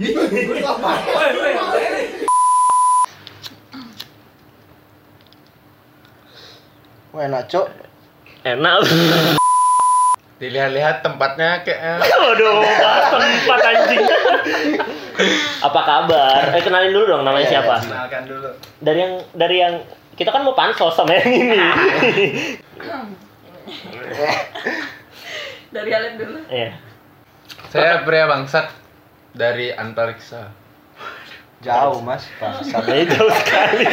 Ih, gue ngapain? Wah enak cok. Enak. Dilihat-lihat tempatnya kayak eh. Waduh, bahas tempat anjing. Apa kabar? Eh kenalin dulu dong namanya siapa? Kenalkan dulu. Dari yang dari yang kita kan mau pansos sama yang ini. Dari Alep dulu. Iya. Saya pria bangsat dari antariksa. Jauh mas. Bangsat. Sampai jauh sekali.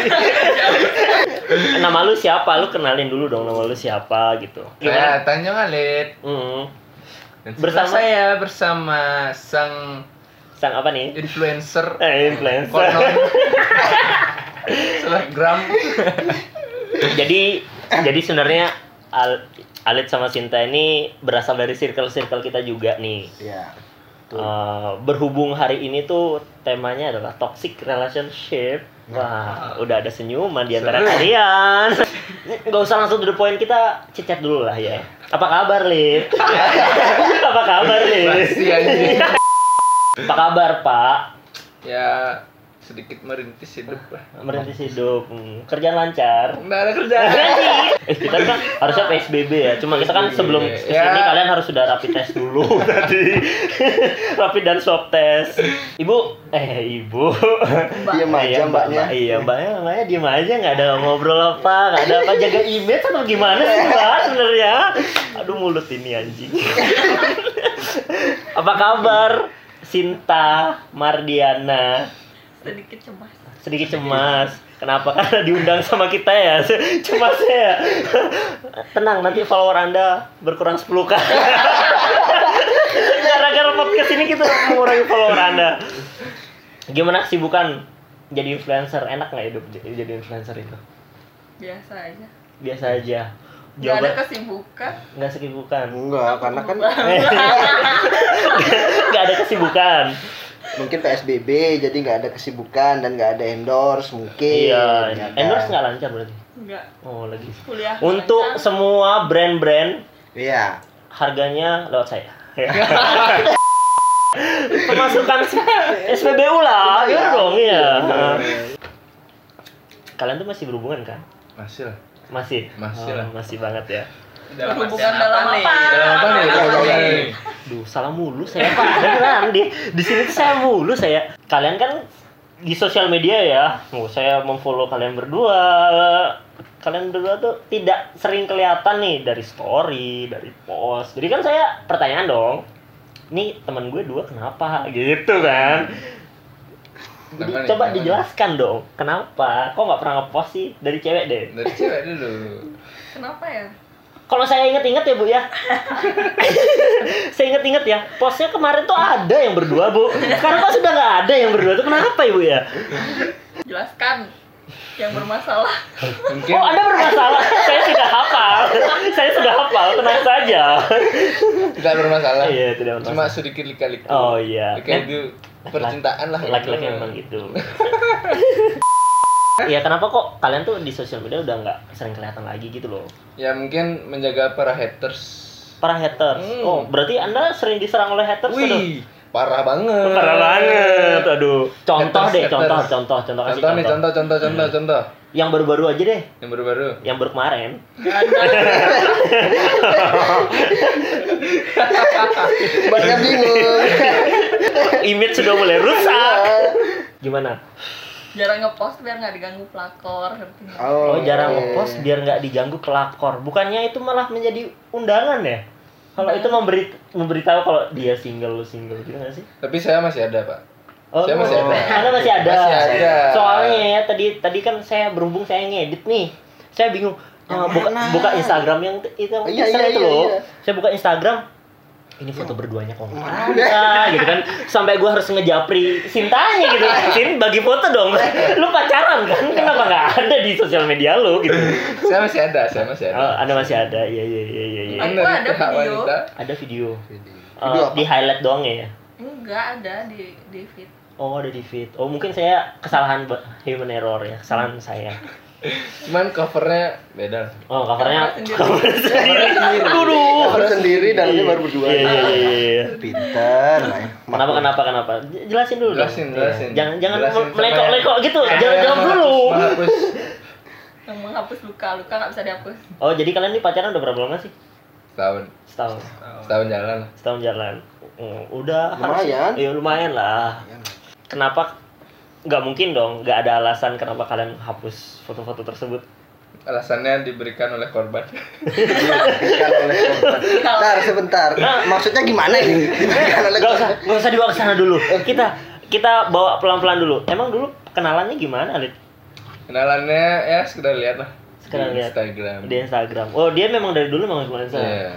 nama lu siapa? Lu kenalin dulu dong nama lu siapa gitu. Saya Gimana? Tanjung Alit. Hmm. Dan Bersama- bersama saya bersama sang Sang apa nih? influencer Eh, influencer. konon selebgram jadi jadi sebenarnya Al- Alit sama Sinta ini berasal dari circle-circle kita juga nih. Iya. Betul. Eh, berhubung hari ini tuh temanya adalah toxic relationship. Wah, udah ada senyuman di antara kalian. Gak usah langsung to the point, kita cicat dulu lah ya. Apa kabar, Lip? Apa kabar, Lip? pasti anjing. Apa kabar, Pak? ya sedikit merintis hidup lah. Merintis hidup, Hmm, kerjaan lancar. Nggak ada kerjaan. eh, kita kan harusnya PSBB ya. Cuma kita kan sebelum kesini Ya. kalian harus sudah rapid test dulu tadi. rapid dan swab test. Ibu, eh ibu. Diam aja Iya, mbak- mbaknya. mbak- Iya mbaknya, mbaknya diem aja nggak ada ngobrol apa, nggak ada apa jaga image atau gimana sih mbak sebenarnya? Aduh mulut ini anjing. apa kabar? Sinta Mardiana Sedikit cemas. sedikit cemas. Kenapa? Karena diundang sama kita ya. Cemasnya ya. Tenang, nanti follower Anda berkurang 10 kali. Gara-gara podcast ini kita mengurangi follower Anda. Gimana kesibukan jadi influencer? Enak nggak hidup j- jadi influencer itu? Biasa aja. Biasa aja. Gak ada Jawaban kesibukan. nggak kesibukan. Enggak, karena kan Nggak ada kesibukan. mungkin PSBB jadi nggak ada kesibukan dan nggak ada endorse mungkin. Iya. ya kan? Endorse nggak lancar berarti. Enggak. Oh lagi. Kuliah. Untuk lancar. semua brand-brand Iya. harganya lewat saya. Pemasukan SPBU lah, iya dong iya. Kalian tuh masih berhubungan kan? Masih lah. Masih. Masih Oh, lah. masih banget ya. berhubungan dalam apa? Dalam apa nih? Dalam apa nih? Duh, salah mulu saya Pak. Beneran di di sini tuh saya mulu saya. Kalian kan di sosial media ya. Mau saya memfollow kalian berdua. Kalian berdua tuh tidak sering kelihatan nih dari story, dari post. Jadi kan saya pertanyaan dong. Ini teman gue dua kenapa gitu kan? Jadi, Kenapa nih? coba Kenapa nih? dijelaskan dong kenapa kok nggak pernah ngepost sih dari cewek deh Dari cewek dulu. Kenapa ya? kalau saya inget-inget ya bu ya saya inget-inget ya posnya kemarin tuh ada yang berdua bu sekarang kok sudah nggak ada yang berdua tuh kenapa ibu ya Jelaskan yang bermasalah. Mungkin oh anda bermasalah saya sudah hafal saya sudah hafal tenang saja tidak bermasalah. iya tidak Cuma bermasalah sedikit lika-liku. oh iya Kayak di percintaan lah. laki-laki emang gitu Iya kenapa kok kalian tuh di sosial media udah nggak sering kelihatan lagi gitu loh Ya mungkin menjaga para haters. para haters. Hmm. Oh, berarti Anda sering diserang oleh haters tuh. Wih, parah banget. Parah banget, aduh. Contoh Haters, deh, haters. contoh, contoh, contoh Hmm. kasih Contoh nih, contoh, contoh, contoh, contoh. Yang baru-baru aja deh, Yang baru-baru. yang baru kemarin. Mbaknya bingung. Image sudah mulai rusak. Gimana? Jarang ngepost biar nggak diganggu pelakor. ngerti nggak? Ah. Oh, jarang iya. oke. ngepost biar nggak diganggu pelakor. Bukannya itu malah menjadi undangan ya? Kalau Nah. itu memberi memberitahu kalau dia single lu single gitu nggak sih? Tapi saya masih ada, Pak. Oh, Saya masih ada. Anda masih ada. Masih ada. Soalnya ya tadi tadi kan saya berhubung saya ngedit nih. Saya bingung Yang eh, buka mana? buka Instagram yang t- itu yang Iya, teaser iya, itu iya, loh. iya. Saya buka Instagram ini foto berduanya kok nggak ada gitu kan sampai gua harus ngejapri Sintanya gitu Sin bagi foto dong lu pacaran kan kenapa nggak ada di sosial media lu gitu Saya masih ada, saya masih ada. oh, anda masih ada iya iya iya iya iya. Aku ada pihak video. wanita. ada video Video Eh, apa? di highlight doang ya Enggak ada di di feed. Oh, ada di feed. Oh, mungkin saya kesalahan ba- human error ya, kesalahan saya. Cuman covernya beda. Oh, covernya Covernya covernya sendiri. sendiri. Aduh. Cover sendiri, dalamnya baru berdua. Iya, iya, iya, iya. Pinter. Mai. Kenapa kenapa kenapa? J- Jelasin dulu. dong. Jelasin, jelasin. Jangan jangan Jelasin me- melekok-lekok supaya- gitu. supaya Jangan jawab menghapus- dulu. Menghapus yang menghapus luka luka nggak bisa dihapus Oh, jadi kalian ini pacaran udah berapa lama sih? setahun. Setahun. Setahun jalan lah. Setahun jalan. Hmm, udah Lumayan. Iya, lumayan lah. Kenapa nggak mungkin dong, nggak ada alasan kenapa kalian hapus foto-foto tersebut. Alasannya diberikan oleh korban. Diberikan oleh korban. Bentar, sebentar. Nah. Maksudnya gimana ini? Diberikan oleh Gak usah, korban. gak usah dibawa ke sana dulu. Kita kita bawa pelan-pelan dulu. Emang dulu kenalannya gimana, Lid? Kenalannya ya sekedar lihat lah. Sekedar Di lihat. Instagram. Di Instagram. Oh, dia memang dari dulu memang influencer. Iya.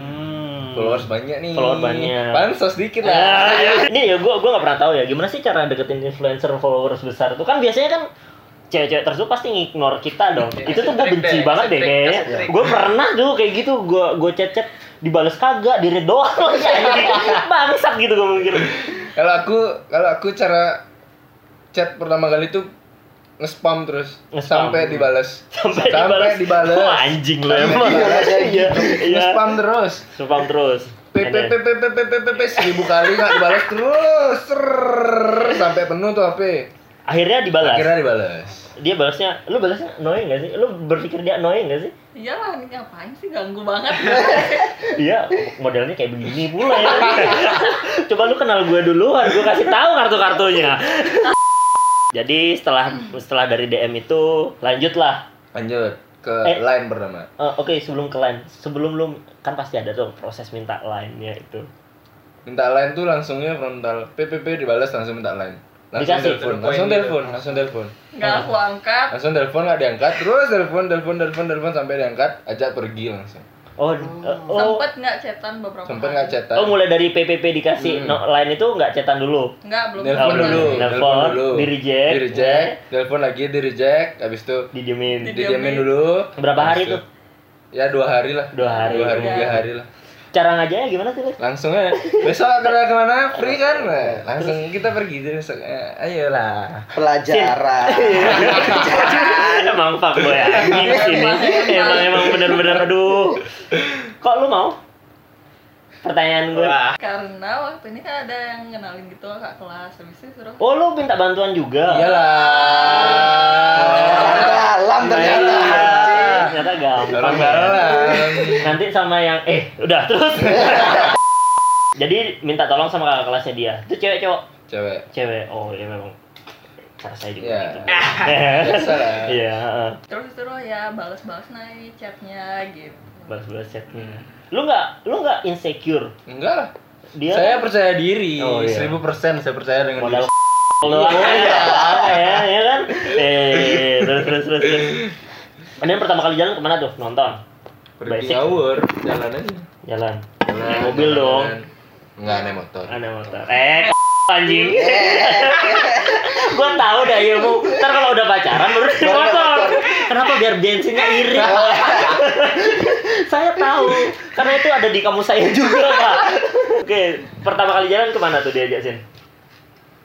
Hmm. Followers banyak nih. Followers banyak. Pansos dikit Ah, lah. iya. Ini ya gue gue nggak pernah tahu ya gimana sih cara deketin influencer followers besar itu kan biasanya kan cewek-cewek tersebut pasti ngignore kita dong Iya, itu tuh gue kasih trik benci deh, banget kasih deh trik, kayaknya kasih trik. gue pernah tuh kayak gitu gue gue cecet dibales kagak diri doang lagi anjing. bangsat gitu gue mikir Kalau aku kalau aku cara chat pertama kali itu nge-spam terus Nge-spam. sampai dibalas. sampai, dibales dibales. Wah, anjing lo Sampai emang dibales. iya iya Nge-spam terus. spam terus PPPPPPPP seribu kali nggak dibalas terus Serrrr, sampai penuh tuh HP. akhirnya dibalas Akhirnya dibalas. dia balasnya lu balasnya annoying gak sih lu berpikir dia annoying gak sih iyalah Iya ini ngapain sih ganggu banget Iya, modelnya kayak begini pula ya. Coba lu kenal gue duluan, gue kasih tahu kartu-kartunya. Jadi setelah setelah dari DM itu lanjutlah. Lanjut ke Eh. line pertama. Eh, Oke, sebelum ke line, sebelum lu kan pasti ada dong proses minta line-nya itu. Minta line tuh langsungnya frontal. PPP dibalas langsung minta line. Langsung Dikasih. telepon, langsung telepon, langsung telepon. nggak aku angkat Langsung telepon nggak diangkat, terus telepon, telepon, telepon, telepon sampai diangkat, ajak pergi langsung. Oh, eh, oh, sempet nggak cetan beberapa Sempet kali. nggak chatan. oh mulai dari PPP dikasih Hmm. no, line itu nggak cetan dulu. nggak belum oh, Telepon pernah. dulu, Telepon, di reject. di reject, telepon lagi di reject, habis itu Didiemin. didiamin dulu. Berapa hari Habis tuh? itu- Ya dua hari lah. Dua hari. Dua hari, Iya. tiga hari lah. Cara ngajanya gimana sih, Le? langsung aja besok kemana kemana free kan Nah, langsung kita pergi deh besok Eh, ayolah Pelajaran. Iya. emang pak gue ya, anjing sini emang emang bener-bener aduh kok lu mau pertanyaan gue karena waktu ini kan ada yang kenalin gitu kak kelas habis itu suruh oh lu minta bantuan Iya juga iyalah Dalam ternyata. Iya, ternyata gampang orang ya. dalam nanti sama yang eh udah terus jadi minta tolong sama kakak kelasnya dia itu cewek cowok cewek cewek oh ya memang cara saya juga Iya. gitu biasa lah iya heeh. terus disuruh ya balas-balas naik chatnya gitu balas-balas chatnya lu nggak lu nggak insecure enggak lah dia saya percaya diri Iya. Oh, iya. seribu persen saya percaya dengan modal diri lo Iya. apa ya ya kan eh terus terus terus terus Kemudian pertama kali jalan kemana tuh nonton pergi Basic. ngawur jalan aja jalan Jalan, Naik mobil jalan. dong enggak naik motor ada motor eh anjing gua tahu dah ilmu ntar kalau udah pacaran baru naik Baru naik motor motor. kenapa biar bensinnya irit saya tahu karena itu ada di kamu saya juga pak oke pertama kali jalan kemana tuh diajak sin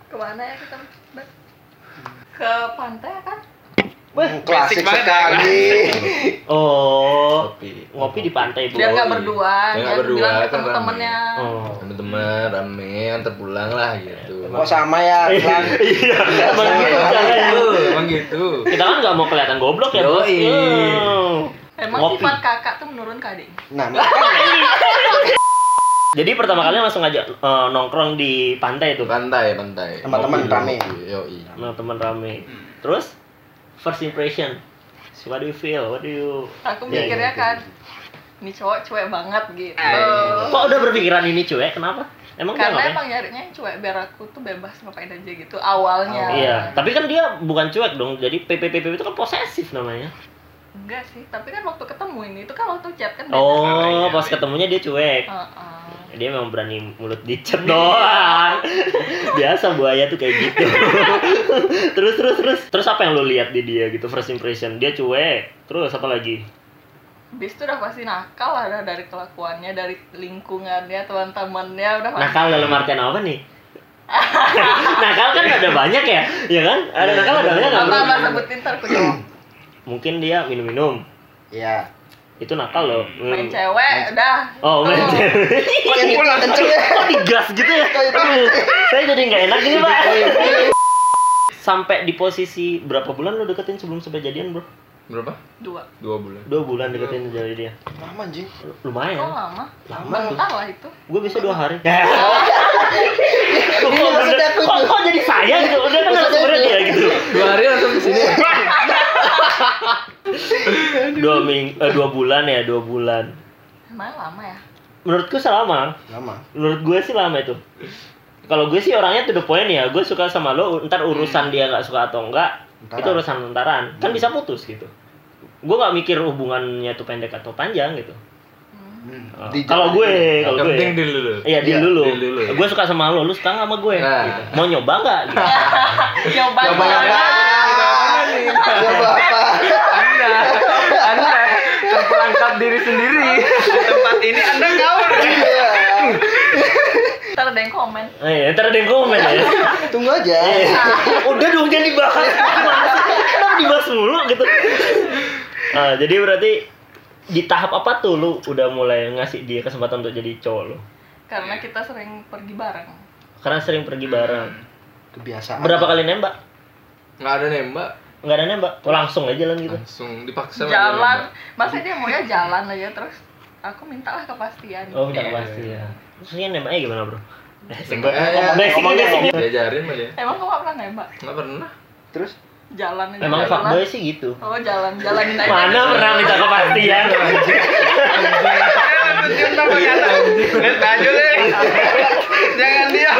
kemana ya kita Bang? ke pantai kan Klasik sekali. oh ngopi ngopi di pantai bu biar nggak berdua Biar nggak jangan berdua, bilang ke kan temen-temennya oh teman-teman rame antar pulang lah gitu Kok sama ya? Bang? iya emang sama. gitu caranya. emang gitu kita kan nggak mau kelihatan goblok ya bos Yoi. Hmm. emang Ngopi. sifat kakak tuh menurun ke adik Nah, makanya. jadi pertama kali langsung ngajak eh, nongkrong di pantai itu Ke kan pantai pantai Teman-teman Ngopi, rame. ngopi, yoi sama teman rame terus first impression So, what do you feel what do you aku Ya, mikirnya gitu. kan ini cowok cuek banget gitu Iya, kok udah berpikiran ini cuek kenapa emang dia karena ngapain? emang nyarinya yang cuek biar aku tuh bebas ngapain aja gitu awalnya iya tapi kan dia bukan cuek dong jadi PPPP itu kan posesif namanya enggak sih tapi kan waktu ketemu ini itu kan waktu chat kan beda. oh pas ketemunya dia cuek Heeh. dia memang berani mulut dicet doang biasa buaya tuh kayak gitu terus terus terus terus apa yang lo lihat di dia gitu first impression dia cuek terus apa lagi Bis itu udah pasti nakal lah dah dari kelakuannya, dari lingkungannya, teman-temannya udah pasti. nakal dalam artian apa nih nakal kan ada banyak ya ya kan ada nakal ada banyak nggak Apa bro? Hmm. apa sebutin ntar aku jawab. mungkin dia minum-minum Iya. itu nakal loh Hmm. main cewek udah oh main Oh. cewek Kok yang itu kenceng ya? kok digas gitu ya Iya. Aduh, saya jadi nggak enak ini pak iya. sampai di posisi berapa bulan lo deketin sebelum sampai jadian bro Berapa? dua Dua bulan. dua bulan deketin jadi dia Lama anjing. kok lumayan lama Iya. lama tuh bentar lah itu gue bisa dua hari kok, Ini maksudnya aku kok, tuh. kok jadi saya gitu udah kan harus Maksudnya berat itu. ya gitu Dua hari langsung ke sini. dua ming eh, dua bulan ya dua bulan emang lama ya menurutku selama Lama. menurut gue sih lama itu kalau gue sih orangnya to the point ya gue suka sama lo ntar urusan dia nggak suka atau enggak Ntar. itu urusan tentaran kan bisa putus gitu gue nggak mikir hubungannya tuh pendek atau panjang gitu Hmm. Hmm. Oh, Di- kalau gue Yang kalau gue penting ya. deal dulu. Iya, deal Iya, dulu. deal dulu, ya. Gue suka sama lo, lu suka nggak sama gue? Nah. Gitu. Mau nyoba nggak? Gitu. Coba Coba coba. yang mana nih? Ya apa? Anda, Anda terperangkap diri sendiri. Di tempat ini Anda ngawur. Iya. Ntar ada yang komen. Eh, ntar ada yang komen ya. Iya. Tunggu aja. Eh, Udah dong jangan dibahas. Kenapa dibahas mulu gitu? Nah, jadi berarti di tahap apa tuh lu udah mulai ngasih dia kesempatan untuk jadi cowok lu? Karena kita sering pergi bareng. Karena sering pergi bareng. Hmm. Kebiasaan. Berapa kali nembak? Nggak ada nembak. Nggak ada nembak? Oh, langsung aja jalan gitu. Langsung dipaksa. Jalan. Masa dia maunya jalan aja terus aku mintalah kepastian. Hmm. Oh, udah Iya, pasti ya. Terusnya nembaknya gimana, Bro? Eh, Sembah. Basic, basic. Iya, Diajarin mah dia. Emang kamu nggak pernah nembak? Nggak pernah. Terus Jalan aja. Emang jalan. fuckboy sih gitu. Oh Iya, jalan, jalanin aja. Mana pernah minta kepastian? Eh, Lihat baju deh. Jangan dia.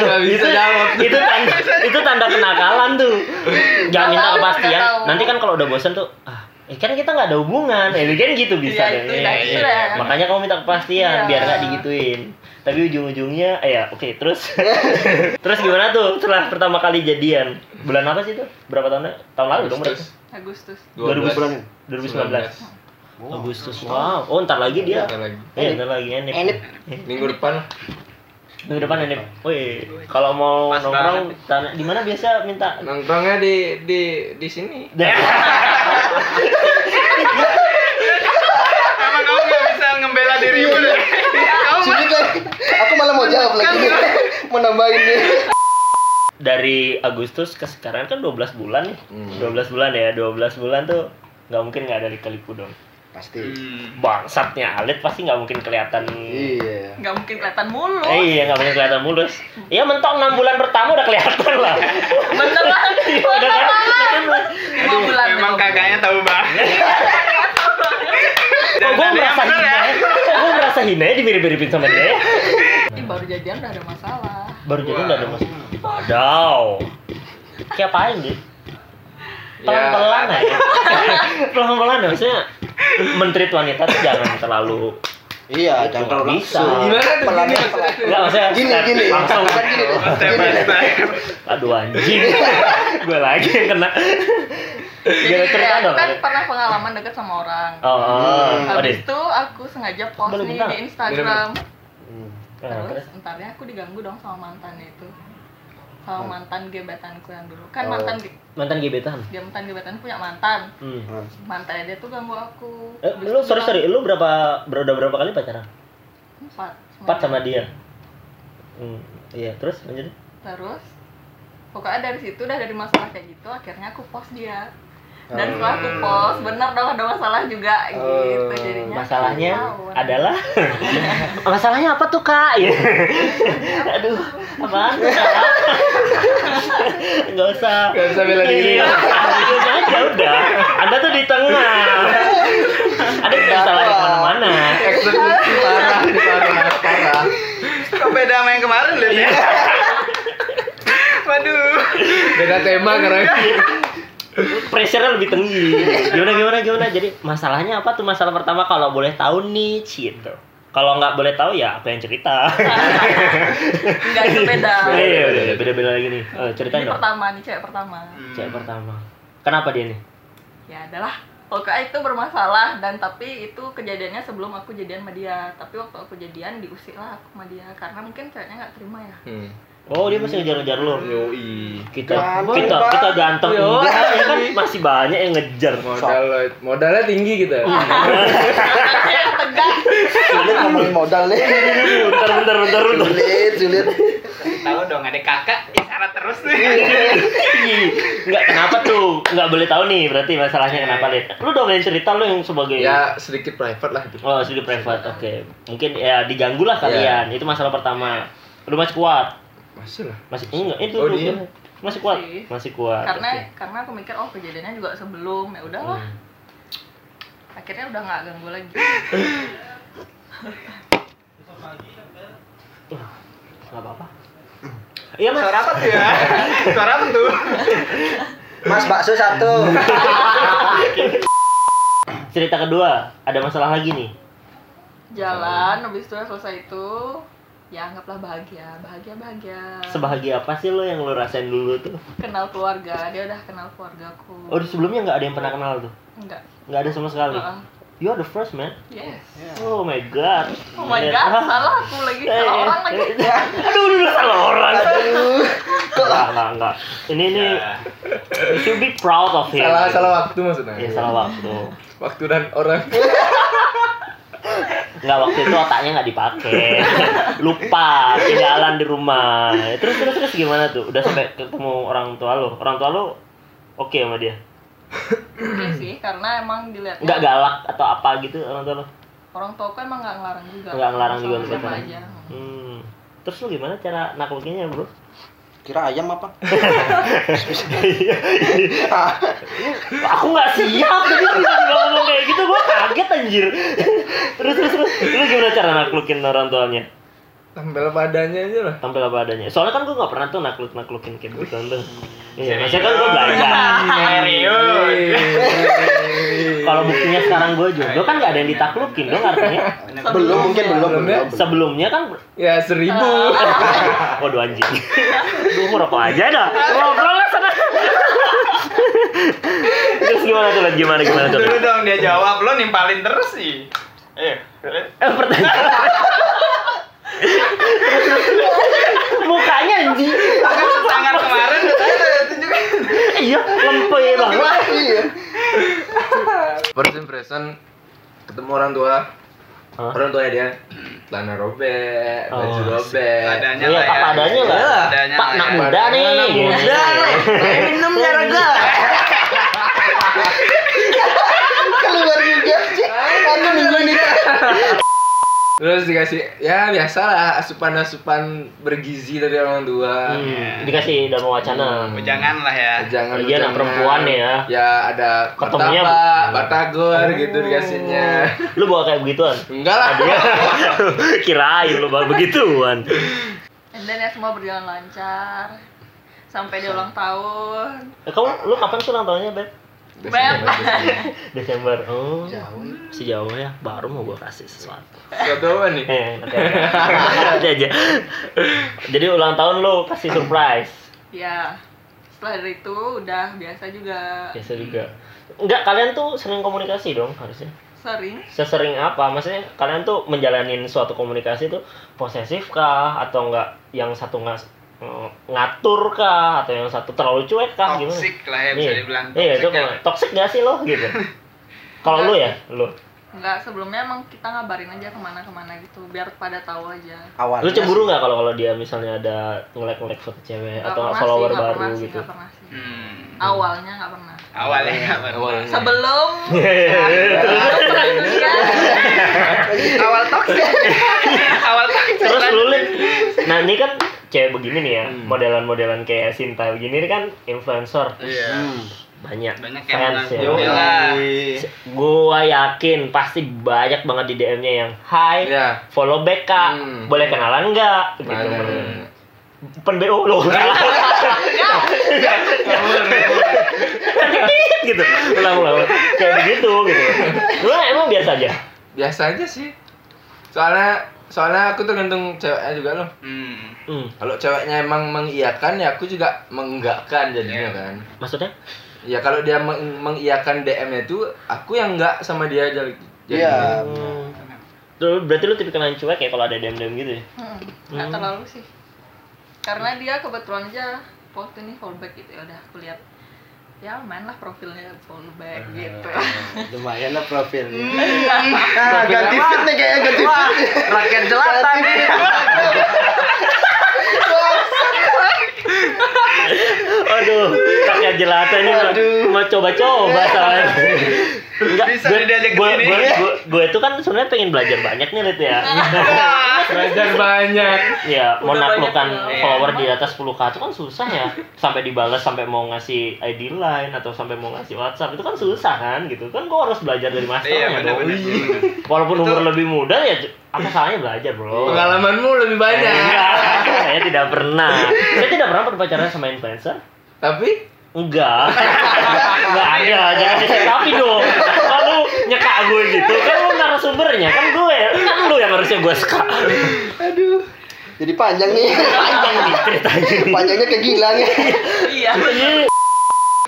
Nggak bisa jawab. itu tanda itu tanda kenakalan tuh jangan minta tahu, kepastian nggak tahu. nanti kan kalau udah bosan tuh ah eh kan kita nggak ada hubungan eh kan gitu bisa kan? Iya, itu, Iya, nah, iya. itu dah. makanya kamu minta kepastian Iya. biar nggak digituin tapi ujung-ujungnya eh ya oke terus terus gimana tuh setelah pertama kali jadian bulan apa sih itu berapa tahun tahun lalu dong berarti Agustus. 12. 2019 Agustus wow oh ntar lagi dia Ntar lagi. eh ntar lagi enip Enip. Minggu depan lah. minggu depan enip woi kalau mau nongkrong tanya- di mana biasa minta nongkrongnya di di di sini. Emang kamu gak bisa ngembela dirimu deh? Iya. Kamu Sini kan aku malah mau jawab lagi nih. Mau nambahin nih. dari Agustus ke sekarang kan 12 bulan nih. Hmm. 12 bulan ya, 12 bulan tuh nggak mungkin nggak ada lika-liku dong. Pasti. Hmm. Bangsatnya Alit pasti nggak mungkin kelihatan. Iya. Nggak mungkin kelihatan mulu. Eh, iya nggak mungkin kelihatan mulus. Iya mentok 6 bulan pertama udah kelihatan lah. Beneran. Iya, udah kan? Udah kan? Lima bulan. Emang kakaknya tahu banget. Kok gue Jangan merasa diambil hina ya. ya? Kok gue merasa hina ya dimirip-miripin sama dia ya? Ini baru jadian udah ada masalah. Baru jadi nggak ada masalah. Wadaw. Kayak apain deh? pelan-pelan Ya, aja pelan-pelan ya, maksudnya menteri wanita tuh jangan terlalu Iya, jangan terlalu Bisa. langsung. Gimana tuh? Pelan Gini maksudnya? pelan. enggak maksudnya Gini step gini. langsung Kan gini. deh. Step by Gini. deh. step. aduh anjing gue lagi yang kena Jadi Gimana cerita ya, aku dong kan pernah pengalaman deket sama orang. Iya, oh oh Hmm. deh Habis itu aku sengaja post Boleh nih bentar? di Instagram. Hmm. Nah, Terus entarnya aku diganggu dong sama mantannya itu. Hmm. Sama mantan gebetanku yang dulu. Kan Oh. mantan ge- mantan gebetan dia mantan gebetan punya mantan. hmm. Hmm. Mantannya dia tuh ganggu aku. eh, Habis lu itu sorry bilang, sorry lu berapa ber- udah berapa kali pacaran Empat. empat sama dia hmm. iya terus lanjut Terus pokoknya dari situ udah dari masalah kayak gitu akhirnya aku post dia. Dan setelah Oh. aku Hmm. post, bener dong ada masalah juga gitu Eh, jadinya. masalahnya ketahuan. adalah masalahnya apa tuh kak Iya. aduh apaan tuh kak nggak usah Nggak usah bela diri. Iya, diem aja udah anda tuh di tengah ada nggak salah di mana mana Eksekusi parah, ini parah, parah. Kok beda sama yang kemarin lihat ya? Waduh. Iya. Beda tema karena pressure lebih tinggi gimana gimana gimana jadi masalahnya apa tuh masalah pertama kalau boleh tahu nih gitu kalau nggak boleh tahu ya aku yang cerita Enggak itu beda. iya iya, beda-beda lagi nih Eh, Ini ceritain dong pertama nih cewek pertama. cewek pertama kenapa dia nih Ya adalah pokoknya itu bermasalah dan tapi itu kejadiannya sebelum aku jadian sama dia. Tapi waktu aku jadian diusik lah aku sama dia karena mungkin ceweknya nggak terima ya. Oh dia masih ngejar-ngejar lo. Hmm. Yoi. Kita Ganteng, kita Pak. kita ganteng Yo. enggak ya kan masih banyak yang ngejar. Modal modalnya tinggi gitu. kita. Iya. yang tegak Sulit ngomongin modal nih. bentar bentar bentar bentar. Sulit, sulit. Tahu dong ada kakak ya syarat terus nih. Ih, Nggak kenapa tuh? Nggak boleh tahu nih berarti masalahnya kenapa Lid? Lu dong yang cerita lu yang sebagai Eh. ya sedikit private lah gitu. itu. Oh, sudah private. Oke. Mungkin ya diganggu lah kalian. Ya. Itu masalah pertama. Lu masih kuat. Masih lah. Masih enggak itu Oh, lu- dia. masih kuat. Masih. Masih kuat. karena oke. karena aku mikir oh kejadiannya juga sebelum ya udahlah Hmm. akhirnya udah nggak ganggu lagi Nggak apa-apa. Iya, Mas. Suara apa tuh ya? Suara apa tuh? Mas bakso satu. Cerita kedua, ada masalah lagi nih. jalan habis itu udah selesai itu ya anggaplah bahagia bahagia bahagia Sebahagia apa sih lo yang lo rasain dulu tuh? kenal keluarga dia udah kenal keluargaku Oh, di sebelumnya nggak ada yang pernah kenal tuh? enggak Nggak ada sama sekali? Heeh. You are the first, man. yes Oh my god. oh my god Ah. salah aku lagi Eh, salah orang lagi eh, Aduh, aduh, aduh, salah orang. Enggak, enggak, enggak. Ini nih, you should be proud of him. Salah salah waktu maksudnya. Ya, salah waktu. Waktu dan orang. Enggak, waktu itu otaknya nggak dipakai. Lupa, ketinggalan di rumah. Terus, terus, terus gimana tuh? Udah sampai ketemu orang tua lo. Orang tua lo oke sama dia? oke Iya sih karena emang dilihatnya Enggak galak atau apa gitu orang tua lo? orang tuaku emang nggak ngelarang juga Nggak ngelarang juga Sama untuk siapa pacaran. aja Hmm. Terus lu gimana cara naklukinnya bro? Kira ayam apa? Ah. Aku nggak siap tadi lu tiba-tiba ngomong kayak gitu gua kaget anjir. terus terus terus lu gimana cara naklukin orang tuanya? Tampil padanya aja lah. Tampil apa adanya. Soalnya kan gua nggak pernah tuh nakluk naklukin kayak gitu kan tuh. Iya, maksudnya kan gua belajar. Serius. Kalau buktinya sekarang gua jomblo kan nggak ada yang ditaklukin dong artinya. Belum mungkin belum belum. Belum ya? belum. Sebelumnya kan Ya seribu. waduh anjing. Duh, mau rokok aja dah. Ngobrol lah sana. Terus gimana tuh? Lan? Gimana gimana tuh? Lan? Dulu dong dia jawab lo nimpalin terus sih. Eh, Eh, pertanyaan. Mukanya anjing. tangan kemarin saya tunjukin. Iya, lempeng banget. Iya. First impression ketemu orang tua. Hah? Orang tuanya dia celana robek, Oh. baju robek. Adanya Iya, lah Pak, ya. adanya lah. Iya, Adanya Pak, nak lah. muda nih. Iya. Anak muda. Minum garaga. Keluar juga sih. Aku minggu ini. Terus dikasih ya biasalah asupan-asupan bergizi dari orang tua. Hmm, dikasih dalam wacana. ya. Jangan lah ya. jangan Iya, anak perempuan ya. ya ada Ketemunya- Hmm. martabak batagor gitu dikasihnya Lu bawa kayak begituan. enggak lah Kirain lu bawa begituan. and then ya semua berjalan lancar sampai dia ulang tahun Eh, Kamu lu kapan sih ulang tahunnya, Beb? Beb. Desember. Oh. Sejauh ya, baru mau gua kasih sesuatu. Suatu apa nih Eh, nanti aja. Nanti aja. Jadi ulang tahun lu kasih surprise. ya setelah dari itu udah biasa juga biasa juga enggak kalian tuh sering komunikasi dong harusnya sering sesering apa maksudnya kalian tuh menjalani suatu komunikasi tuh posesif kah atau enggak yang satu ngas ng- ngatur kah atau yang satu terlalu cuek kah Ah, gimana Toxic lah ya bisa Iya. dibilang. iya itu toxic ya. kalau- toxic gak sih lo gitu kalau lu ya lu nggak sebelumnya emang kita ngabarin aja kemana-kemana gitu biar pada tahu aja Awal. lu cemburu nggak kalau kalau dia misalnya ada ngelek ngelek foto cewek Nggak atau pernah sih, follower nggak baru pernah sih, gitu nggak pernah sih. Hmm. ya, awalnya nggak pernah Awalnya nggak pernah. Awalnya. sebelum Nah, Awal toxic. Awal kan toxic. terus lu Lin. nah ini kan cewek begini nih ya Hmm. modelan-modelan kayak Sinta begini kan influencer Iya. Hmm, banyak Banyak yang fans ya. menang. Iya. Gua yakin pasti banyak banget di DM-nya yang Hai, Iya. follow back kak, Hmm. boleh kenalan nggak? Gitu. Mana? Pen BO lo. Dikit gitu. Ulang ulang. ulang. Kayak begitu gitu. Lu emang biasa aja. biasa aja sih soalnya soalnya aku tergantung ceweknya juga loh Hmm. Hmm. kalau ceweknya emang mengiyakan ya aku juga menggakkan jadinya Iya. kan Maksudnya? ya kalau dia meng- mengiyakan DM itu aku yang enggak sama dia aja Iya. Hmm. Lu- Berarti lu tipikal yang cuek ya kalau ada DM-DM gitu ya? Hmm, nggak terlalu sih karena dia kebetulan aja waktu ini fallback gitu ya udah aku lihat ya main lah profilnya fallback gitu Ah, Lumayan lah profilnya. Nah, Hmm. ganti fit nih kayaknya ganti fit. Rakyat jelatan. Aduh, kakek jelata ini mah- mah coba-coba soalnya. Enggak, Iya. Bisa diajak ke gue, sini. gue, gue, gue tuh kan sebenarnya pengen belajar banyak nih, Lid ya. Belajar banyak. ya, mau Udah naklukkan banyak yang- iya. follower di atas 10k itu kan susah ya. Sampai dibalas, sampai mau ngasih ID line atau sampai mau ngasih WhatsApp itu kan susah kan gitu. Kan gue harus belajar dari Iya, masternya dong. benar-benar. Walaupun Itu- umur lebih muda ya apa salahnya belajar, Bro? Pengalamanmu lebih banyak. Enggak, saya tidak pernah. Saya tidak pernah berpacaran sama influencer. Tapi Enggak. Enggak ada, jangan dikasih tapi dong. Lalu nyeka gue gitu. Kan lu narasumbernya, kan gue, kan lu yang harusnya gue suka. Jadi panjang nih. Panjang nih ceritanya. nih. Panjangnya ya. kayak gila nih. iya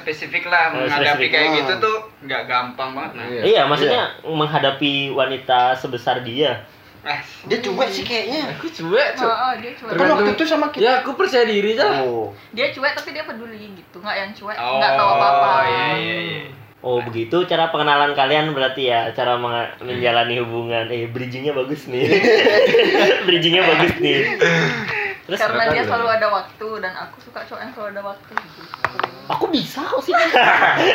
Spesifik lah Oh, menghadapi spesifik. kayak Ah. gitu tuh nggak gampang banget nah. Iya, maksudnya menghadapi wanita sebesar dia. Eh, Dia cuek sih kayaknya. aku cuek, oh, cuek. oh, dia cuek Kan waktu itu sama kita. Ya aku percaya diri Iya. aja. Oh. dia cuek tapi dia peduli gitu nggak yang cuek Oh, nggak tahu apa apa iya, iya, iya. Oh begitu cara pengenalan kalian berarti ya cara meng- menjalani hubungan eh bridgingnya bagus nih bridgingnya bagus nih terus gitu? karena kenapa dia dia? selalu ada waktu dan aku suka cowok yang selalu ada waktu gitu aku bisa kok sih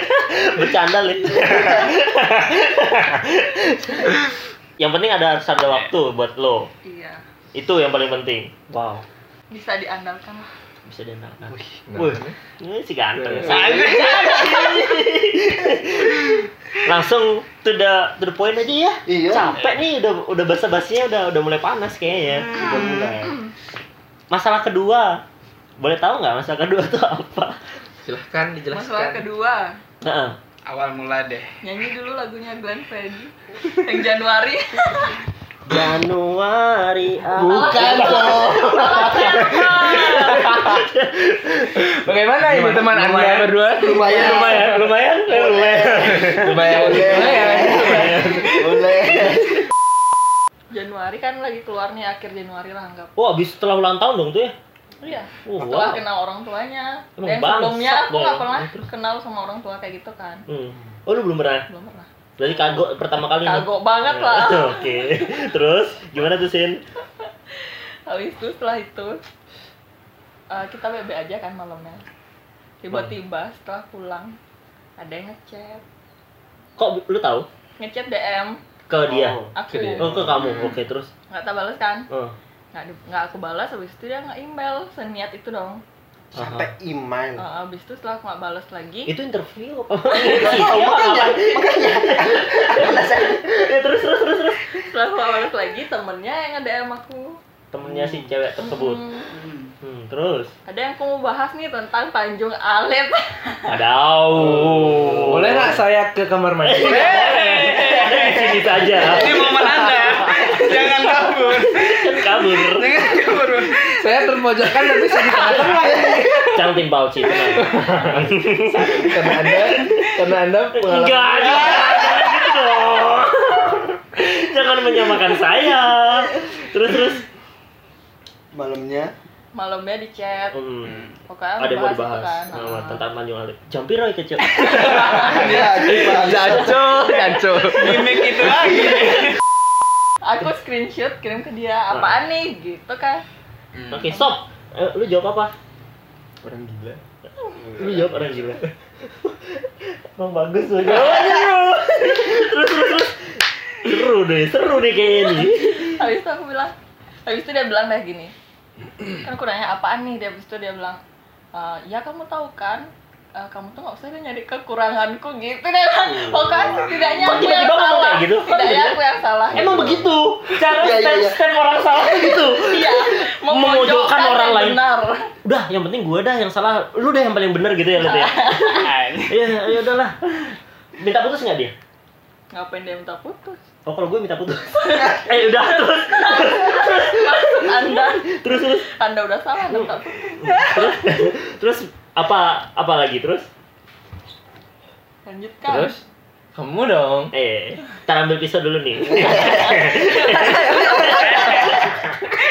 bercanda lid yang penting ada harus ada waktu buat lo iya itu yang paling penting wow bisa diandalkan lah bisa diandalkan Wih. Nah, ini si ganteng Iya, Wih. langsung to the to the point aja ya Iya. capek nih udah udah basa basinya udah udah mulai panas kayaknya ya Hmm. udah mulai masalah kedua boleh tahu nggak masalah kedua tuh apa Silahkan kan? masalah dijelaskan. kedua Heeh. awal mula deh. nyanyi dulu lagunya Glenn Fredly yang Januari Januari awal. Bukan loh. Bagaimana ini teman Anda berdua? Lumayan. Ya, lumayan lumayan eh, lumayan Lumayan. Lumayan. Boleh. Januari kan lagi keluar nih akhir Januari lah anggap wah abis setelah ulang tahun dong tuh ya iya Wah. setelah kenal orang tuanya Oh, Emang dan sebelumnya bangsat aku nggak dong. pernah kenal sama orang tua kayak gitu kan hmm. oh lu belum pernah belum pernah berarti kagok pertama kali nih. kagok banget lah oke terus gimana tuh sin habis itu setelah itu eh, kita bebe aja kan malamnya tiba-tiba setelah pulang ada yang ngechat kok lu tahu ngechat DM ke dia Oh, ke aku dia. oh ke kamu oke terus nggak tak balas kan oh. nggak di- nggak aku balas habis itu dia nggak email seniat itu dong Sampai iman. Ah. Eh, habis itu setelah aku nggak balas lagi itu interview apa Iya, apa? ya terus terus terus terus setelah aku nggak balas lagi temennya yang nge DM aku temennya si cewek tersebut Hmm, hmm, terus ada yang aku mau bahas nih tentang Tanjung Alep Adaw. Boleh nggak saya ke kamar mandi? Ada di sini saja. Ini momen Anda. Jangan kabur. Kan kabur. Jangan kabur. saya terpojokkan tapi saya di tengah-tengah. Canting bau sih. Karena Anda, karena Anda pengalaman. Enggak, jangan jangan gitu dong. Jangan menyamakan saya. Terus terus. Malamnya. malamnya di chat Hmm. pokoknya Ada yang mau bahas itu dibahas kan. Oh, Ah. tentang Tanjung Alip. Jampi Roy kecil. Ya, gimana? Jancu, jancu. Gimik itu lagi. aku screenshot kirim ke dia Nah. apaan nih gitu kan Oke, stop. Eh, lu jawab apa? Orang gila. Lu jawab orang gila. Emang bagus lu jawabannya bro. Terus terus terus. Seru deh, seru deh kayaknya nih. habis itu aku bilang habis itu dia bilang kayak gini kan aku nanya apaan nih dia habis itu dia bilang "Eh, ya kamu tahu kan eh, kamu tuh nggak usah deh nyari kekuranganku gitu deh pokoknya kan setidaknya Oh. Kok aku yang tiba-tiba ngomong salah kayak gitu? Kok setidaknya tiba-tiba? aku yang salah Emang begitu cara Iya, iya, step iya. step orang salah tuh gitu. iya Memojokkan orang yang lain. benar Udah, yang penting gue dah yang salah, lu dah yang paling bener gitu ya, Lid ya. Iya, ya udahlah. Minta putus nggak dia? ngapain dia minta putus Oh, kalau gue minta putus. eh, udah terus. anda Terus terus anda udah salah anda minta putus terus terus apa apa lagi terus? lanjutkan Terus? Kamu dong. Eh, ntar ambil pisau dulu nih.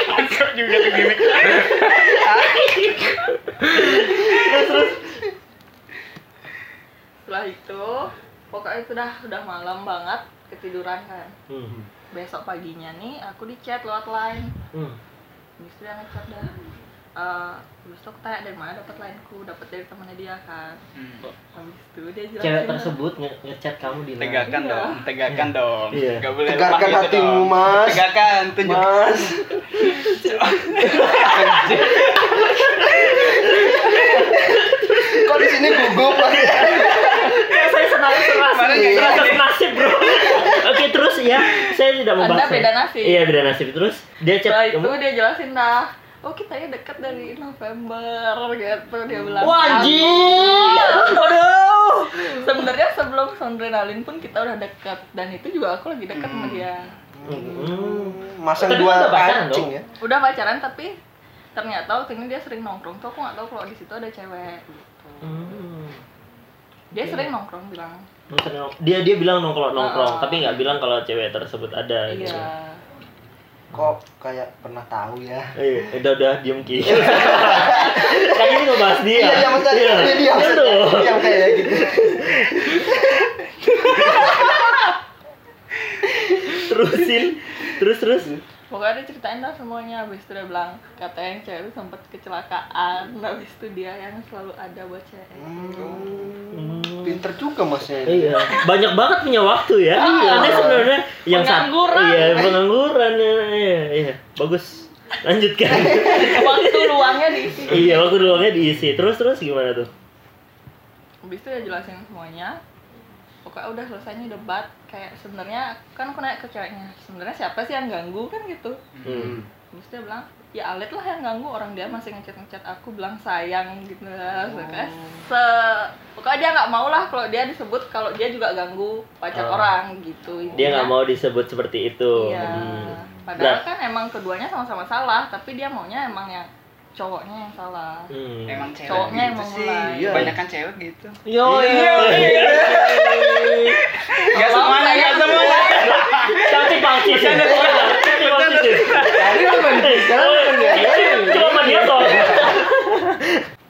Masuk juga ke gimik. malam banget ketiduran kan Hmm. besok paginya nih aku di chat lewat line Hmm. habis itu dia ngechat dah Eh, habis itu aku tanya dari mana dapat lineku dapat dari temannya dia kan Hmm. habis itu dia jelasin Cewek lah. tersebut nge- ngechat kamu di mana? Tegakkan Iya. dong, tegakkan dong. Iya. Gak boleh Tegakkan lemah gitu hatimu, dong. Mas. Tegakkan, tunjuk. Mas, kok di sini gugup Mas? Eh, saya senang senasib, Iya. Senang senasib, bro. Oke terus ya, saya tidak mau Anda bahas. beda nasib. Iya beda nasib terus. Dia chat setelah Nah, itu kamu. dia jelasin dah oh kita ya dekat dari November gitu dia bilang Wah anjing. Aduh. sebenarnya sebelum Sondrenalin pun kita udah dekat dan itu juga aku lagi dekat sama dia Hmm. Masang Tapi dua udah pacaran kancing dong? ya. udah pacaran tapi ternyata waktu ini dia sering nongkrong tuh aku nggak tahu kalau di situ ada cewek gitu. Hmm. dia sering nongkrong bilang Dia dia bilang nongkrong nongkrong, Ah. tapi nggak bilang kalau cewek tersebut ada. gitu. iya Kok kayak pernah tahu ya? Eh, udah udah diam ki. kan ini ngebahas dia. Iya, iya, Mas. Iya, dia diam. Aduh. Diam kayak gitu. Terusin. Terus terus. pokoknya dia ceritain lah semuanya habis itu dia bilang katanya yang cewek itu sempat kecelakaan habis itu dia yang selalu ada buat cewek Hmm. Pinter juga ya. masnya. ini. Iya, banyak banget punya waktu ya. Iya. Anda sebenarnya yang sa- Ah. Pengangguran. Iya, pengangguran. Iya, iya, iya. Bagus. Lanjutkan. waktu luangnya diisi iya, waktu luangnya diisi. Terus terus gimana tuh? habis itu dia jelasin semuanya pokoknya udah selesainya debat kayak sebenarnya kan aku nanya ke ceweknya sebenarnya siapa sih yang ganggu kan gitu Hmm. terus dia bilang ya Alit lah yang ganggu orang dia masih ngechat ngechat aku bilang sayang gitu lah Pokoknya se pokoknya dia nggak mau lah kalau dia disebut kalau dia juga ganggu pacar Oh. orang gitu Dia nggak intinya. mau disebut seperti itu. Iya. Hmm. Padahal Nah. kan emang keduanya sama-sama salah, tapi dia maunya emang yang cowoknya yang salah. Hmm. Emang cewek Cowoknya gitu emang sih. mulai. Iya. Banyakan cewek gitu. Yo, Iya, Oh, iya. Gak semuanya, gak semuanya. Cantik banget sih. Cantik banget sih. Tadi lu manis, sekarang lu Iya. manis. Cuma sama dia toh.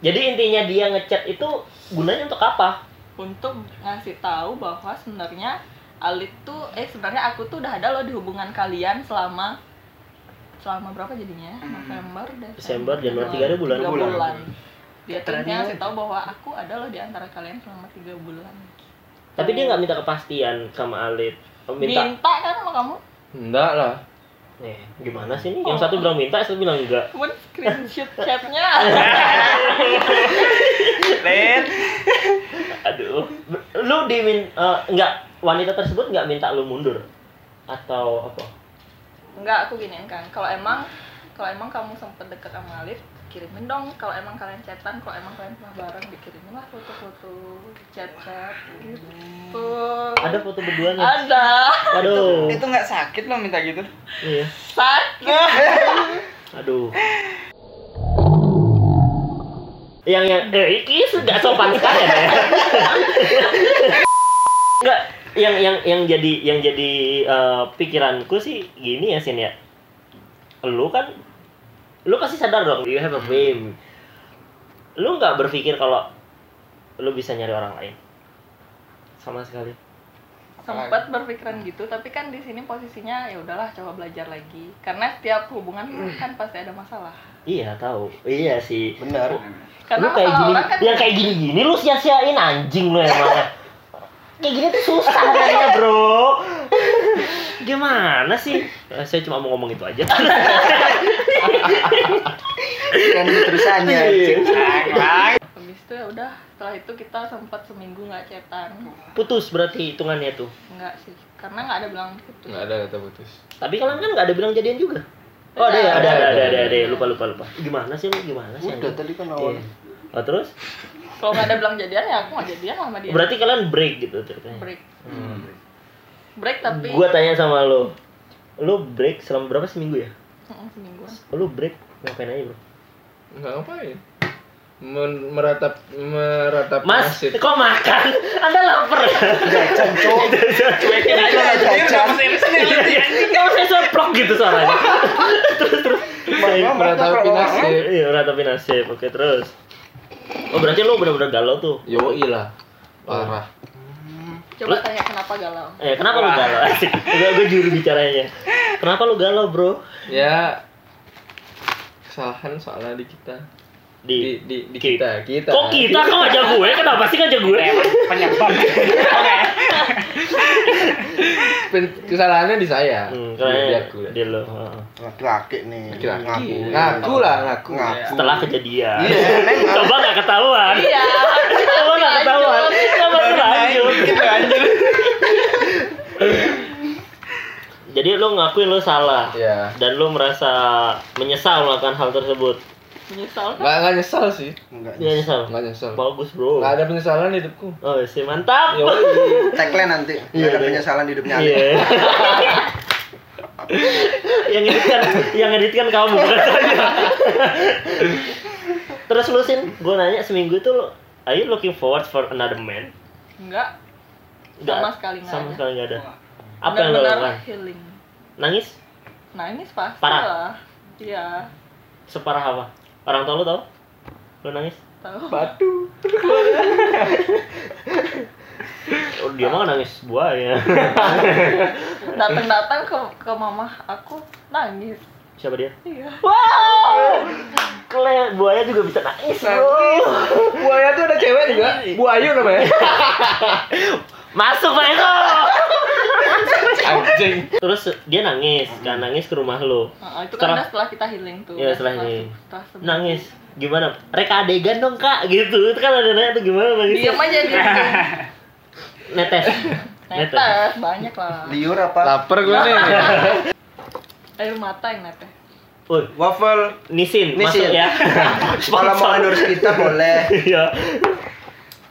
Jadi intinya dia ngechat itu gunanya untuk apa? Untuk ngasih tahu bahwa sebenarnya Alit tuh eh sebenarnya aku tuh udah ada loh di hubungan kalian selama selama berapa jadinya? November, Desember, Januari, tiga ada bulan. Tiga Bulan. bulan. Dia tuh Ternyata. ngasih tahu bahwa aku ada loh di antara kalian selama tiga bulan. Tapi dia nggak minta kepastian sama Alit. Minta. Minta kan sama kamu? Enggak lah. Nih, gimana sih nih? Yang satu bilang minta, yang satu bilang enggak. Cuman screenshot chatnya. Len, Aduh. Lu dimin eh, enggak wanita tersebut enggak minta lu mundur atau apa? Enggak, aku giniin kan. Kalau emang kalau emang kamu sempet deket sama Alif, kirimin dong. Kalau emang kalian chatan, kalau emang kalian pernah bareng, dikirimin lah foto-foto, chat-chat gitu. Ada foto berduanya. Ada. Aduh. itu nggak sakit lo minta gitu. Iya. Sakit. Aduh. Yang yang eh ini sudah sopan sekali ya. Enggak, yang yang yang jadi yang jadi eh, pikiranku sih gini ya Sin ya. Lu kan lu pasti sadar dong you have a fame. Lu nggak berpikir kalau lu bisa nyari orang lain. Sama sekali. Sempet berpikiran gitu, tapi kan di sini posisinya ya udahlah coba belajar lagi. Karena setiap hubungan kan pasti ada masalah. Iya, tahu. Iya sih. Benar. Karena lu kayak masalah gini, orang kan yang kayak gini-gini lu sia-siain anjing lu emang. kayak gini tuh susah kayaknya, Bro. Gimana sih? Eh, Saya cuma mau ngomong itu aja. Kan itu terusannya. Lang, habis itu ya udah setelah itu kita sempat seminggu nggak chatan Putus berarti hitungannya tuh. nggak sih karena nggak ada bilang gitu Enggak ada kata putus. Tapi kalian kan nggak ada bilang jadian juga. Oh, ada ya, ada ada ada ada, ada. lupa lupa lupa. Gimana sih lu? Gimana sih? Udah anjing? tadi kan awal. Iya. Oh, terus? kalau nggak ada bilang jadian ya aku nggak jadian sama dia Berarti kalian break gitu ceritanya. break Hmm. break tapi Gua tanya sama lu. Lu break selama berapa seminggu ya? Mm, semingguan Lu break ngapain aja, Bro? Enggak ngapain. Men- meratap meratap Mas, masjid. kok makan? Anda lapar. Jajan, Cok. cuekin aja Nggak anjir, jajan. nggak mesti iris nih, Len. Enggak usah seprok gitu suaranya. Main Meratap nasib. Iya, meratapi nasib. Oke, terus. Oh, berarti lu bener-bener galau tuh. Yoi lah. Parah. Coba tanya kenapa galau. Eh, kenapa lu galau? Asik. Gue gue juru bicaranya. Kenapa lu galau, Bro? Ya kesalahan soalnya di kita. Di di, di kita, kita. Kok kita kok ngajak gue? Kenapa sih ngajak gue? penyebab oke Pen- Kesalahannya di saya. Hmm, Di kayaknya aku. lah. dia lo. heeh. Hmm. Laki-laki nih. Laki-laki. Ngaku. Ngaku lah, ngaku. Ngaku. Setelah kejadian. Iya, memang. Coba nggak ketahuan. Iya. Coba nggak ketahuan. Coba lanjut. Jadi lu ngakuin lu salah Ya. dan lu merasa menyesal melakukan hal tersebut. Menyesal kan? Nggak, nggak nyesal sih. Enggak. Iya nyesal. Nggak nyesal. Bagus, Bro. Nggak ada Ya penyesalan di hidupku. Oh, sih mantap. Tagline nanti. Iya, ada penyesalan di hidupnya. Iya. Iya. yang edit kan, yang edit kan kamu bukan saya. Terus lu sin, gue nanya seminggu itu lu, are you looking forward for another man? Enggak. Nggak- Sama sekali nggak Sama ada. sekali nggak ada. Apa yang lo lakukan? Benar-benar healing. Nangis? Nah ini pasti Parah. lah. Iya. Separah apa? Orang tua lu tau? Lu nangis? Tahu. Oh, dia mah nangis buaya. Datang-datang ke ke mama aku nangis. Siapa dia? Iya. Wow! Kle, buaya juga bisa nangis, bro. Buaya tuh ada cewek juga. Iya. Buayu namanya. Masuk, Pak Eko! Anjing. Terus dia nangis, kan nangis ke rumah lu. Nah, itu Setelah- kan udah setelah kita healing tuh. Iya, Udah setelah healing. setelah sembuh. nangis gimana reka adegan dong kak gitu itu kan ada nanya tuh gimana nangis Diam aja di situ. netes netes Netes banyak lah. Liur apa? Laper gue nih. Air mata yang netes. Woi, Waffle. nisin, masuk Nisin. ya Kalau mau Sponsor. endorse kita boleh. iya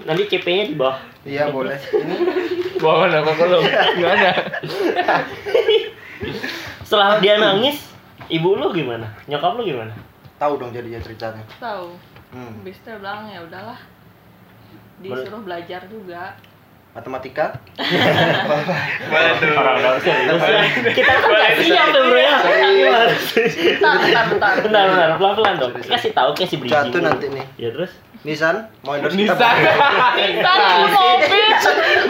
nanti CP nya di bawah Iya, boleh. Ini Bangun apa kok lu? Gimana? setelah dia nangis ibu lu gimana nyokap lu gimana tahu dong jadinya ceritanya. Tahu. Hmm. Habis itu dia bilang ya udahlah. Disuruh belajar juga. Matematika? Boleh tuh. orang orang kita kan nggak siap tuh bro ya Bentar, bentar, bentar. bentar bentar pelan pelan dong kasih tahu kasih briefing Satu nanti nih. ya terus Nisan, mau endorse Nisa. kita boleh. Bentar, itu mobil.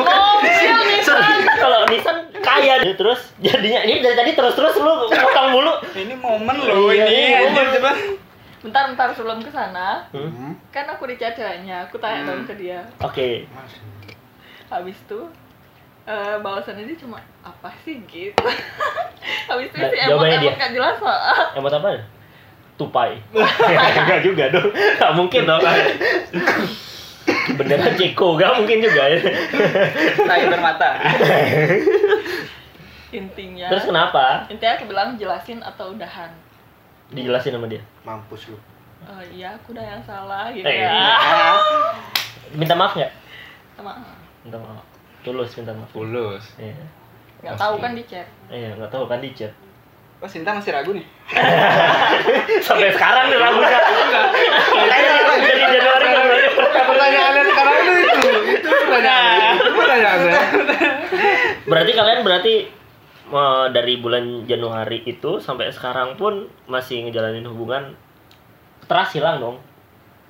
Mobil Nissan. kalau Nissan kaya dia terus jadinya ini dari tadi terus terus lu potong mulu ini momen loh Iya, ini ini anjir coba Bentar, bentar sebelum ke sana, Hmm. kan aku dicat ceweknya. Aku tanya dong Hmm. ke dia. oke Habis itu eh bahasannya dia cuma apa sih gitu. Habis itu Nah, si emot jawabannya emot dia. gak jelas soal. Emot apa? Tupai. Enggak juga dong. Enggak mungkin dong. Beneran Ceko, enggak mungkin juga. tai bermata Intinya. Terus kenapa? Intinya aku bilang jelasin atau udahan. Dijelasin sama dia. Mampus lu. Eh, iya, aku udah yang salah gitu Eh. Iya. ya. Ah. Minta maaf nggak? Sama Minta maaf. Tulus minta maaf. Pulus. Iya. nggak tahu kan di chat. Iya, enggak tahu kan di chat. oh Sinta masih ragu nih Sampai sekarang nih lagunya. Dari Januari kan baru Pertanyaannya sekarang itu itu. Itu pertanyaannya. Itu pertanyaannya. Berarti kalian berarti eh, dari bulan Januari itu sampai sekarang pun masih ngejalanin hubungan Terus hilang dong.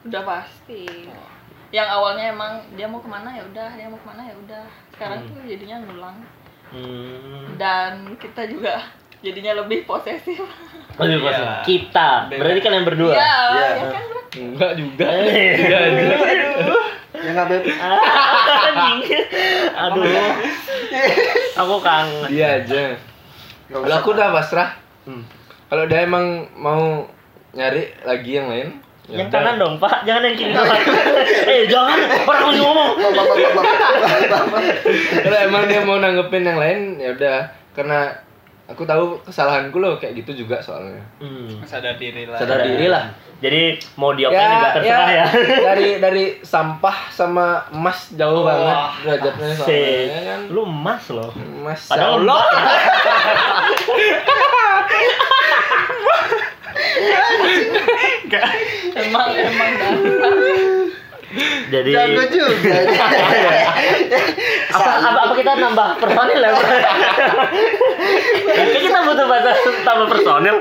Udah pasti. Oh. Yang awalnya emang dia mau kemana ya udah, dia mau kemana ya udah. Sekarang tuh jadinya ngulang Hmm. dan kita juga jadinya lebih posesif. Lebih pasti. Kita. Berarti kalian berdua. Iya, Iya. ya kan Bro? Enggak juga. Iya, Eh. Ya nggak beb. Anjing. Aduh. Aku kangen. Dia iya aja. Nggak Kalau usah. aku udah pasrah. Hmm. Kalau dia emang mau nyari lagi yang lain, ya Yang udah. kanan dong, Pak. Jangan yang kiri. Pak. eh, jangan. Orang mau ngomong. Bap, bap, bap, bap, bap, bap, bap. Kalau emang dia mau nanggepin yang lain, ya udah. Karena aku tahu kesalahanku loh kayak gitu juga soalnya. Hmm. sadar diri lah Sadar diri lah. Jadi mau diapain juga terserah ya. dari dari sampah sama emas jauh banget derajatnya soalnya Sih. ya kan. Lu emas loh. Emas. Padahal jauh. lo Emang emang dasar. jadi Jago juga. apa, apa, apa kita nambah personil ya? Kayaknya kita butuh batas tambah personil.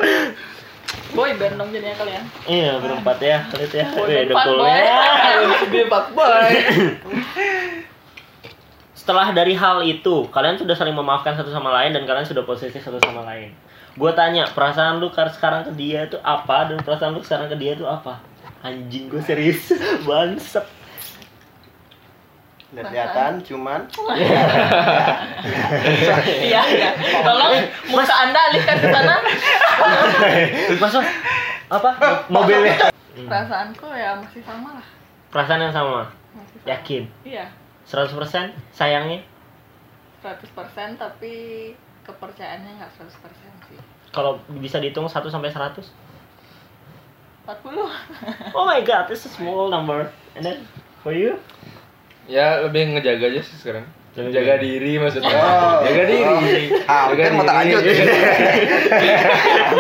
Boy band dong jadinya kalian. Iya, berempat ya, lihat ya. Boy Wih, ya. band, dengkulnya. fuckboy. Dia fuckboy. Setelah dari hal itu, kalian sudah saling memaafkan satu sama lain dan kalian sudah posesif satu sama lain. Gue tanya, perasaan lu kar- sekarang ke dia tuh apa dan perasaan lu sekarang ke dia tuh apa? Anjing gue serius, bangsat. Kelihatan cuman Iya, iya. Tolong muka Anda alihkan ke sana. Masuk apa? Mobilnya. Perasaanku ya masih sama lah. Perasaan yang sama, Masih sama. yakin. Iya, 100% sayangnya 100% tapi kepercayaannya nggak 100% sih. kalau bisa dihitung 1 sampai 100. 40. Oh my god, this is small number. And then for you? Ya lebih ngejaga aja sih sekarang. Lebih Jaga diri maksudnya. Oh. Jaga diri. Ah, Jaga kan mau tak diri, lanjut. jaga diri.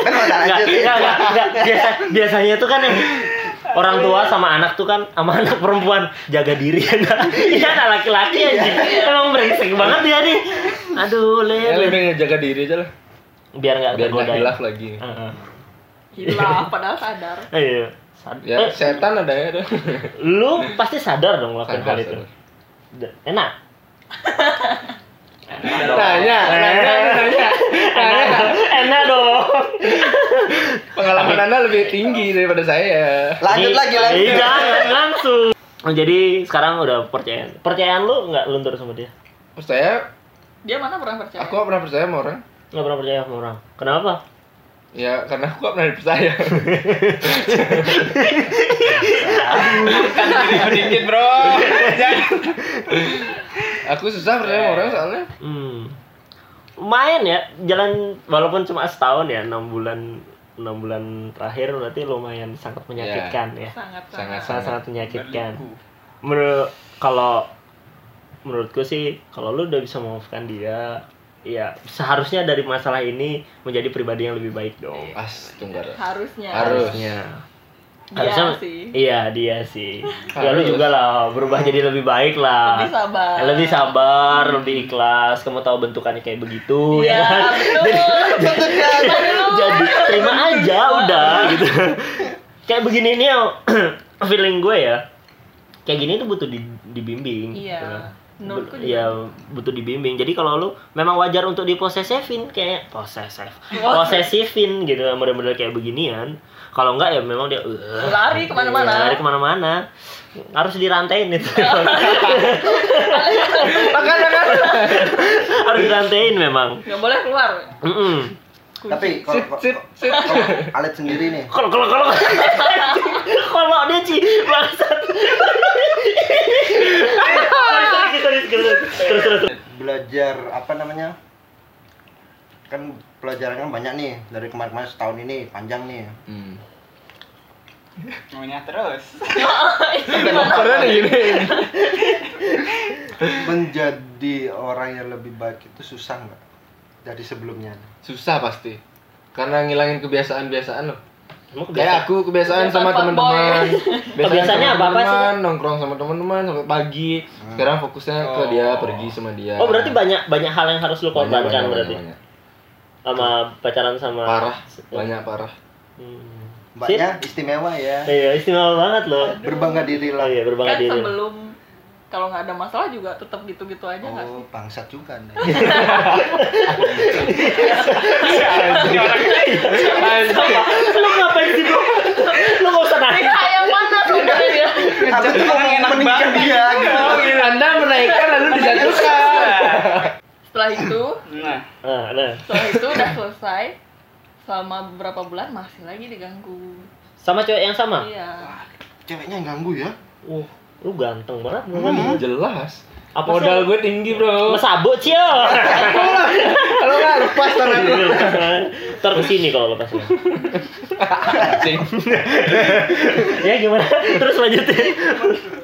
Kan mau tak Enggak, lanjut. enggak, enggak, enggak. Biasa, biasanya tuh kan yang orang tua sama anak tuh kan sama anak perempuan jaga diri ya enggak? Ini anak laki-laki anjing. Iya. Emang brengsek banget dia nih. Aduh, Ya le. lebih ngejaga diri aja lah. Biar enggak Biar nggak tergoda. hilaf lagi. Heeh. Gila, padahal sadar. Iya. Sad- Ya eh, setan ada ya. ada. lu pasti sadar dong ngelakuin Sadar, hal itu. sadar. D- Enak. Nah, Tanya, tanya, tanya. Enak, dong. enak dong. Pengalaman Anda lebih tinggi daripada saya. Lanjut Jadi- lagi lanjut. Iya, jangan langsung. Oh, Jadi sekarang udah percayaan. Percayaan lu nggak luntur sama dia? Percaya, Dia mana pernah percaya? aku nggak pernah percaya sama orang. Nggak pernah percaya sama orang. Kenapa? Ya karena aku nggak pernah dipercaya. Kan diri sedikit, Bro. Jangan. aku susah percaya sama orang soalnya. Hmm. Lumayan ya, jalan walaupun cuma setahun ya, enam bulan enam bulan terakhir berarti lumayan sangat menyakitkan ya. Sangat Sangat Iya. sangat. Sangat sangat menyakitkan. Menurut kalau menurutku sih kalau lu udah bisa memaafkan dia, ya seharusnya dari masalah ini menjadi pribadi yang lebih baik dong. Pas tunggal. Harusnya. Harus. Harusnya. Dia sih. Iya, dia sih. Ya Harus. lu juga lah berubah jadi lebih baik lah. Lebih sabar. Ya, lebih sabar, lebih ikhlas. Kamu tahu bentukannya kayak begitu Iya, ya kan? betul. Jadi terima aja udah gitu. kayak begini nih feeling gue ya. Kayak gini tuh butuh di- dibimbing. Iya. gitu. Menurutku Bu- ya butuh dibimbing. Jadi kalau lu memang wajar untuk diposesifin kayak posesif. Posesifin gitu model-model kayak beginian. Kalau enggak ya memang dia "Ugh." Lari kemana-mana. Iya, lari kemana-mana. Harus dirantain itu. Harus dirantain memang. Nggak boleh keluar. Mm-mm. Tapi kalau kalau- kalau Alit sendiri nih. Kalau kalau kalau kalau dia sih bangsat. Sorry, sorry, sorry, sorry. Terus terus terus. belajar apa namanya kan pelajarannya banyak nih dari kemarin-kemarin setahun ini panjang nih Hmm. Ngunyah terus. Iya. Pernah nih gini. menjadi orang yang lebih baik itu susah nggak dari sebelumnya Susah pasti. Karena ngilangin kebiasaan-kebiasaan loh. Emang kebiasaan- Kayak aku kebiasaan sama Kebiasaan teman-teman. Kebiasaannya sama apa-apa sih? teman-teman, Nongkrong sama teman-teman sampai pagi. Sekarang fokusnya ke dia, pergi sama dia. Oh berarti banyak banyak hal yang harus lu Banyak, banyak, korbankan berarti banyak, banyak. sama pacaran sama Parah, banyak parah. Hmm. mbaknya istimewa ya Sip. Iya, istimewa banget loh. berbangga diri Oh lah iya, berbangga Kan diri. sebelum kalau nggak ada masalah juga tetap gitu-gitu aja nggak sih? oh bangsat juga nih 哎 Lu ngapain sih, Bro? Lu enggak usah nanya. Nah, yang mana sebenarnya? aku tuh orang mau enak meningkat dia gitu Anda menaikkan lalu dijatuhkan. Setelah itu, Nah, Nah, nah. setelah itu udah selesai. Selama beberapa bulan masih lagi diganggu. Sama cewek yang sama? Iya. ceweknya yang ganggu ya Uh, lu ganteng banget. Bro. Jelas. Apa Modal sih? gue tinggi, Bro. Mesabuk, Cio. Kalau nggak lepas tangan gue. Ntar kesini kalau lepas. Anjing. ya gimana? Terus lanjutin.